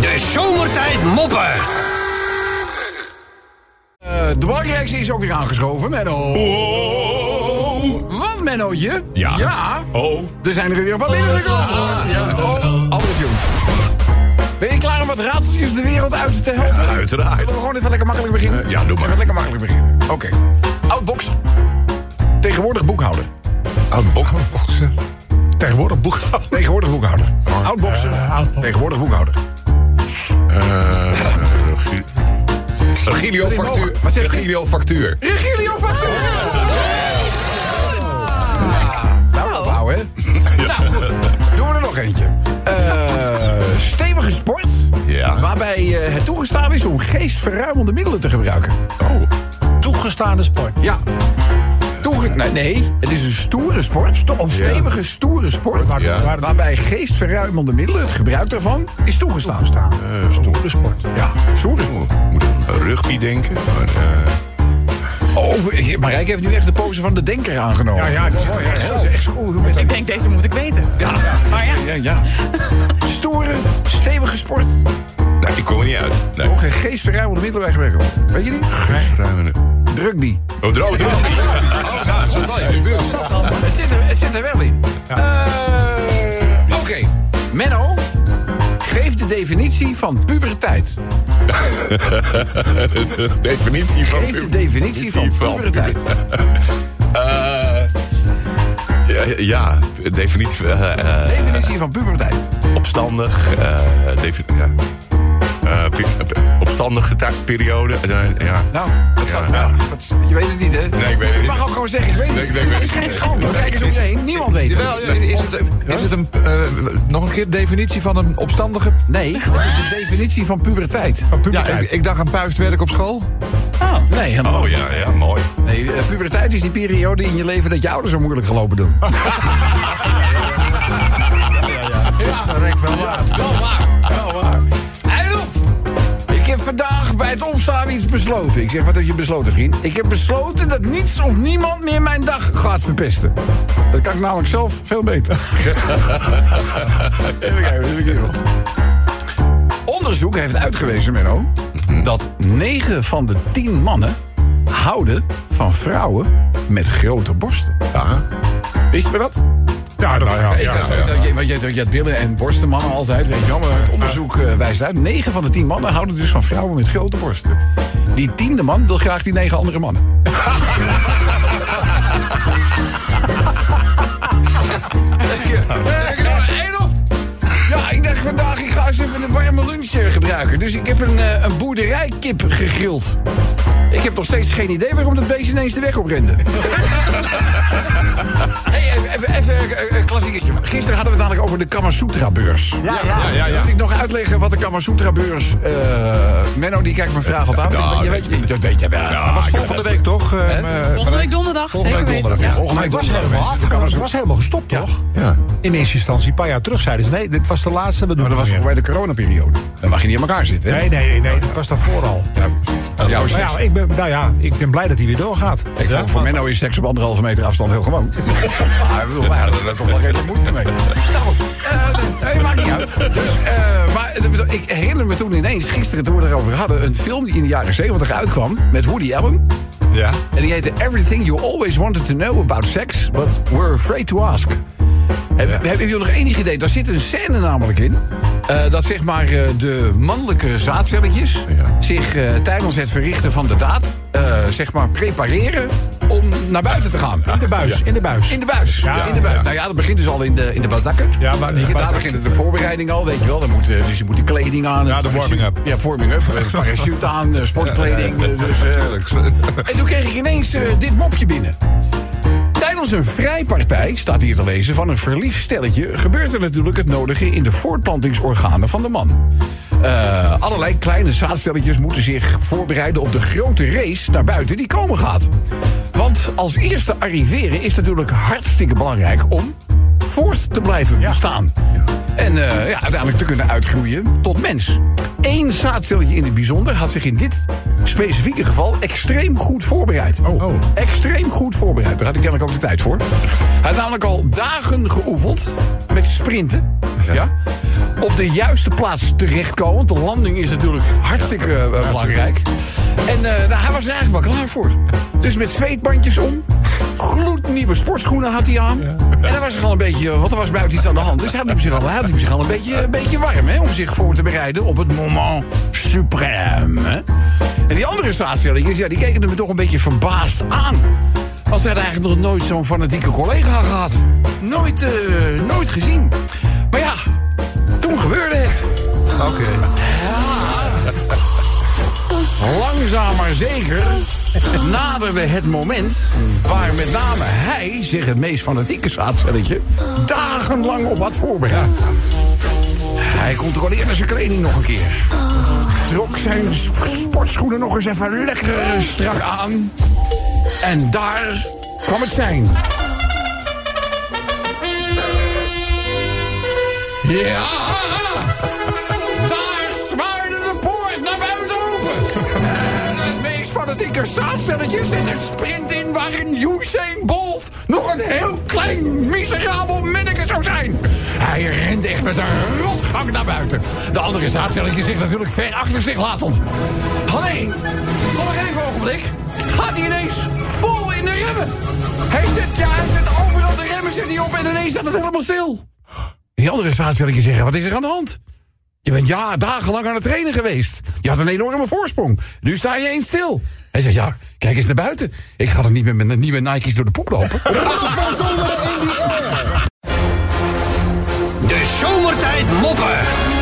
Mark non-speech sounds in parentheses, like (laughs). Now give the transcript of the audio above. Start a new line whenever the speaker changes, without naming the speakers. De zomertijd moppen.
Eh, de belangrijkste is ook weer aangeschoven, Menno. Wat, Mennootje?
Ja.
Ja.
Oh.
Er zijn er weer wat binnengekomen. hoor. Ja. Oh, Albert Jong. Ben je klaar om wat raadseltjes de wereld uit te helpen? Laten
Uiteraard.
we gewoon even lekker makkelijk beginnen?
ja, doe maar.
Even lekker makkelijk beginnen. Oké. Oud bokser. Tegenwoordig boekhouder.
Oud bokser. Tegenwoordig boekhouder.
Tegenwoordig boekhouder. Oud bokser.
oud-bokser.
Tegenwoordig boekhouder.
Eh, Regilio
Wat
factuur.
zegt hij?
Regilio factuur.
Regilio van Kuren. Nou, (laughs) ophouden, hè? Nou, goed. Doen we er nog eentje. Eh, stevige sport.
Ja.
Waarbij eh, het toegestaan is om geestverruimende middelen te gebruiken.
Oh.
Toegestaande sport.
Ja. Toege nee, nee, het is een stoere sport. Sto of stevige, stoere sport.
Ja.
waar- Waarbij geestverruimende middelen, het gebruik daarvan, is toegestaan.
Staan. Stoere sport.
Ja, stoere sport.
Moet ik aan rugby denken? Maar, eh,
Oh, Marijke heeft nu echt de pose van de denker aangenomen. Oh,
Ja, ja, dat is-
dat is echt... Oeh, hoe met
Ik denk, deze moet ik weten.
Ja,
Maar ja.
ja, ja. Stoere, stevige sport.
nou, ik kom er niet uit. Nee.
Nog een geestverruimende middelen bij gewerkt. Weet je niet?
Geestverruimende.
Drugby.
Oh, droog, droog. Oh, ja, dat is wel in de buurt.
Het zit er, het zit er wel in. Eh, Oké. Menno, geef de definitie van puberteit.
Oh, De definitie van...
Geef de definitie van puberteit.
Eh, ja, ja, definitie van... eh, eh,
Definitie van puberteit.
opstandig, eh, defi- ja. Eh, pi- eh, opstandige ta- periode. eh, ja.
Nou, dat staat, nou, dat is- je weet het niet, hè?
Nee, ik weet het
Je
niet.
mag ook gewoon zeggen, ik weet het
Nee, ik
niet.
weet het
Het is
niet.
geen schande.
Nee,
Kijk
het
eens om je
is-
heen. Niemand weet het.
Jawel, is het, is het een, eh, nog een keer definitie van een opstandige...
Nee, het is de definitie van puberteit.
Oh.
Ja, ik, ik dacht aan puistwerk op school.
Nee, helemaal
Oh ja, ja, mooi.
Nee, eh, puberteit is die periode in je leven dat je ouders zo moeilijk gelopen doen. (laughs) ja,
Correct wel waar.
wel waar, wel waar. Eindop! Ik heb vandaag bij het opstaan iets besloten. Ik zeg, wat heb je besloten, vriend? Ik heb besloten dat niets of niemand meer mijn dag gaat verpesten. Dat kan ik namelijk zelf veel (laughs) beter. even kijken, even kijken. Onderzoek heeft uitgewezen, Menno... dat 9 van de 10 mannen houden van vrouwen met grote borsten. Wist je dat?
Ja,
Nou
dat ja,
Ik dacht,
eh,
dat je- Want je, je had billen en borsten mannen altijd, weet je wel. Maar het onderzoek eh, wijst uit. 9 van de 10 mannen houden dus van vrouwen met grote borsten. Die tiende man wil graag die negen andere
(laughs)
mannen. Ja, ik heb er maar één op. Ja, ik dacht vandaag, ik ga eens even een warme lunch eh, gebruiken. Dus ik heb een, eh, een boerderijkip gegrild. Ik heb nog steeds geen idee waarom dat beest ineens de weg oprende. Hey, even- even, even eh, eh, klassieketje. Gisteren hadden we het eigenlijk over de Kama Sutra beurs.
Ja, ja, ja.
Moet ik nog uitleggen wat de Kama Sutra beurs... eh, Menno, die kijkt mijn vraag altijd aan.
Nou,
Maar je weet, je, dat weet je wel.
Ja,
was
ik heb
volgende
het
week toch?
Toch, eh, maar-
Volgende week donderdag.
Volgende
zeker
week
weten.
donderdag,
Ja.
Volgende
Het
week
was
donderdag, mensen.
helemaal
De
afgekomen.
Kama
Het
Sutra-
was helemaal gestopt, toch?
Ja.
In eerste instantie, een paar jaar terug zeiden ze... nee, dit was de laatste, we doen
Maar dat was
het
voor
niet
bij de coronaperiode. Dan mag je niet aan elkaar zitten, hè?
meer. Nee, nee, nee, nee, dat was daarvoor al.
Ja, jouw
Maar
seks.
ja, ik ben, nou ja, ik ben blij dat hij weer doorgaat.
Ik
Ja,
vond voor
want-
Menno is seks op anderhalve meter afstand heel gewoon. maar ik bedoel, wij hadden er toch wel redelijk moeite mee. Nou, eh, nee, maakt niet uit. Dus, eh, maar het- ik herinner me toen ineens, gisteren toen we het erover hadden... een film die in de jaren zeventig uitkwam met Woody Allen.
ja.
En die heette Everything You Always Wanted to Know About Sex, But Were Afraid to Ask. Heb, Hebben jullie nog enig idee? Daar zit een scène namelijk in. eh, dat zeg maar eh, de mannelijke zaadcelletjes
Ja.
zich eh, tijdens het verrichten van de daad, eh, zeg maar, prepareren om naar buiten te gaan.
In de buis, in de buis.
In de buis.
Ja,
in de buis.
ja.
Nou ja, dat begint dus al in de, in de bazakken.
Ja, maar-
Weet je, daar
bazakken.
beginnen de voorbereidingen al, weet je wel. Dan moet, eh, dus je moet de kleding aan.
Ja, de
een parachute-
warming-up.
Ja, warming-up. eh, Parachute aan, eh, sportkleding. eh, dus, eh, en toen kreeg ik ineens eh, dit mopje binnen. Tijdens een vrijpartij, staat hier te lezen, van een verliefd stelletje... gebeurt er natuurlijk het nodige in de voortplantingsorganen van de man. Eh, allerlei kleine zaadstelletjes moeten zich voorbereiden op de grote race naar buiten die komen gaat. Want als eerste arriveren is natuurlijk hartstikke belangrijk om voort te blijven bestaan. En eh, ja, uiteindelijk te kunnen uitgroeien tot mens. Eén zaadcelletje in het bijzonder had zich in dit specifieke geval extreem goed voorbereid.
Oh.
Extreem goed voorbereid. Daar had ik kennelijk ook de tijd voor. Hij had namelijk al dagen geoefend met sprinten. Ja. op de juiste plaats terechtkomen. Want de landing is natuurlijk hartstikke eh, belangrijk. En eh, nou, hij was er eigenlijk wel klaar voor. Dus met zweetbandjes om. Gloednieuwe sportschoenen had hij aan. En dan was er gewoon een beetje, eh, want er was buiten iets aan de hand. Dus hij liep zich al, hij liep zich al een, beetje, een beetje warm hè, om zich voor te bereiden op het moment suprême. hè. En die andere staatstellingen, ja, die keken hem toch een beetje verbaasd aan. Als hij had eigenlijk nog nooit zo'n fanatieke collega gehad. Nooit, eh, nooit gezien. Maar ja, toen gebeurde het. Oké. Ja. Langzaam maar zeker naderde het moment waar met name hij zich het meest fanatieke zaadcelletje dagenlang op had voorbereid. Hij controleerde zijn kleding nog een keer. Trok zijn sp- sportschoenen nog eens even lekker strak aan. En daar kwam het zijn. Ja! Daar zwaarde de poort naar buiten open. En het meest fanatieke zaadstelletje zet een sprint in... waarin Usain Bolt nog een heel klein, miserabel minneke zou zijn. Hij rent echt met een rotgang naar buiten. De andere zaadstelletje zich natuurlijk ver achter zich latend. Alleen, nog even een ogenblik. Gaat hij ineens vol in de remmen. Hij zet, ja, hij zet overal de remmen zet hij op... en ineens staat het helemaal stil. Die andere staat wil ik je zeggen, wat is er aan de hand? Je bent ja, dagenlang aan het trainen geweest. Je had een enorme voorsprong. Nu sta je eens stil. Hij zegt, ja, kijk eens naar buiten. Ik ga er niet met mijn nieuwe Nike's door de poep lopen.
De zomertijd moppen.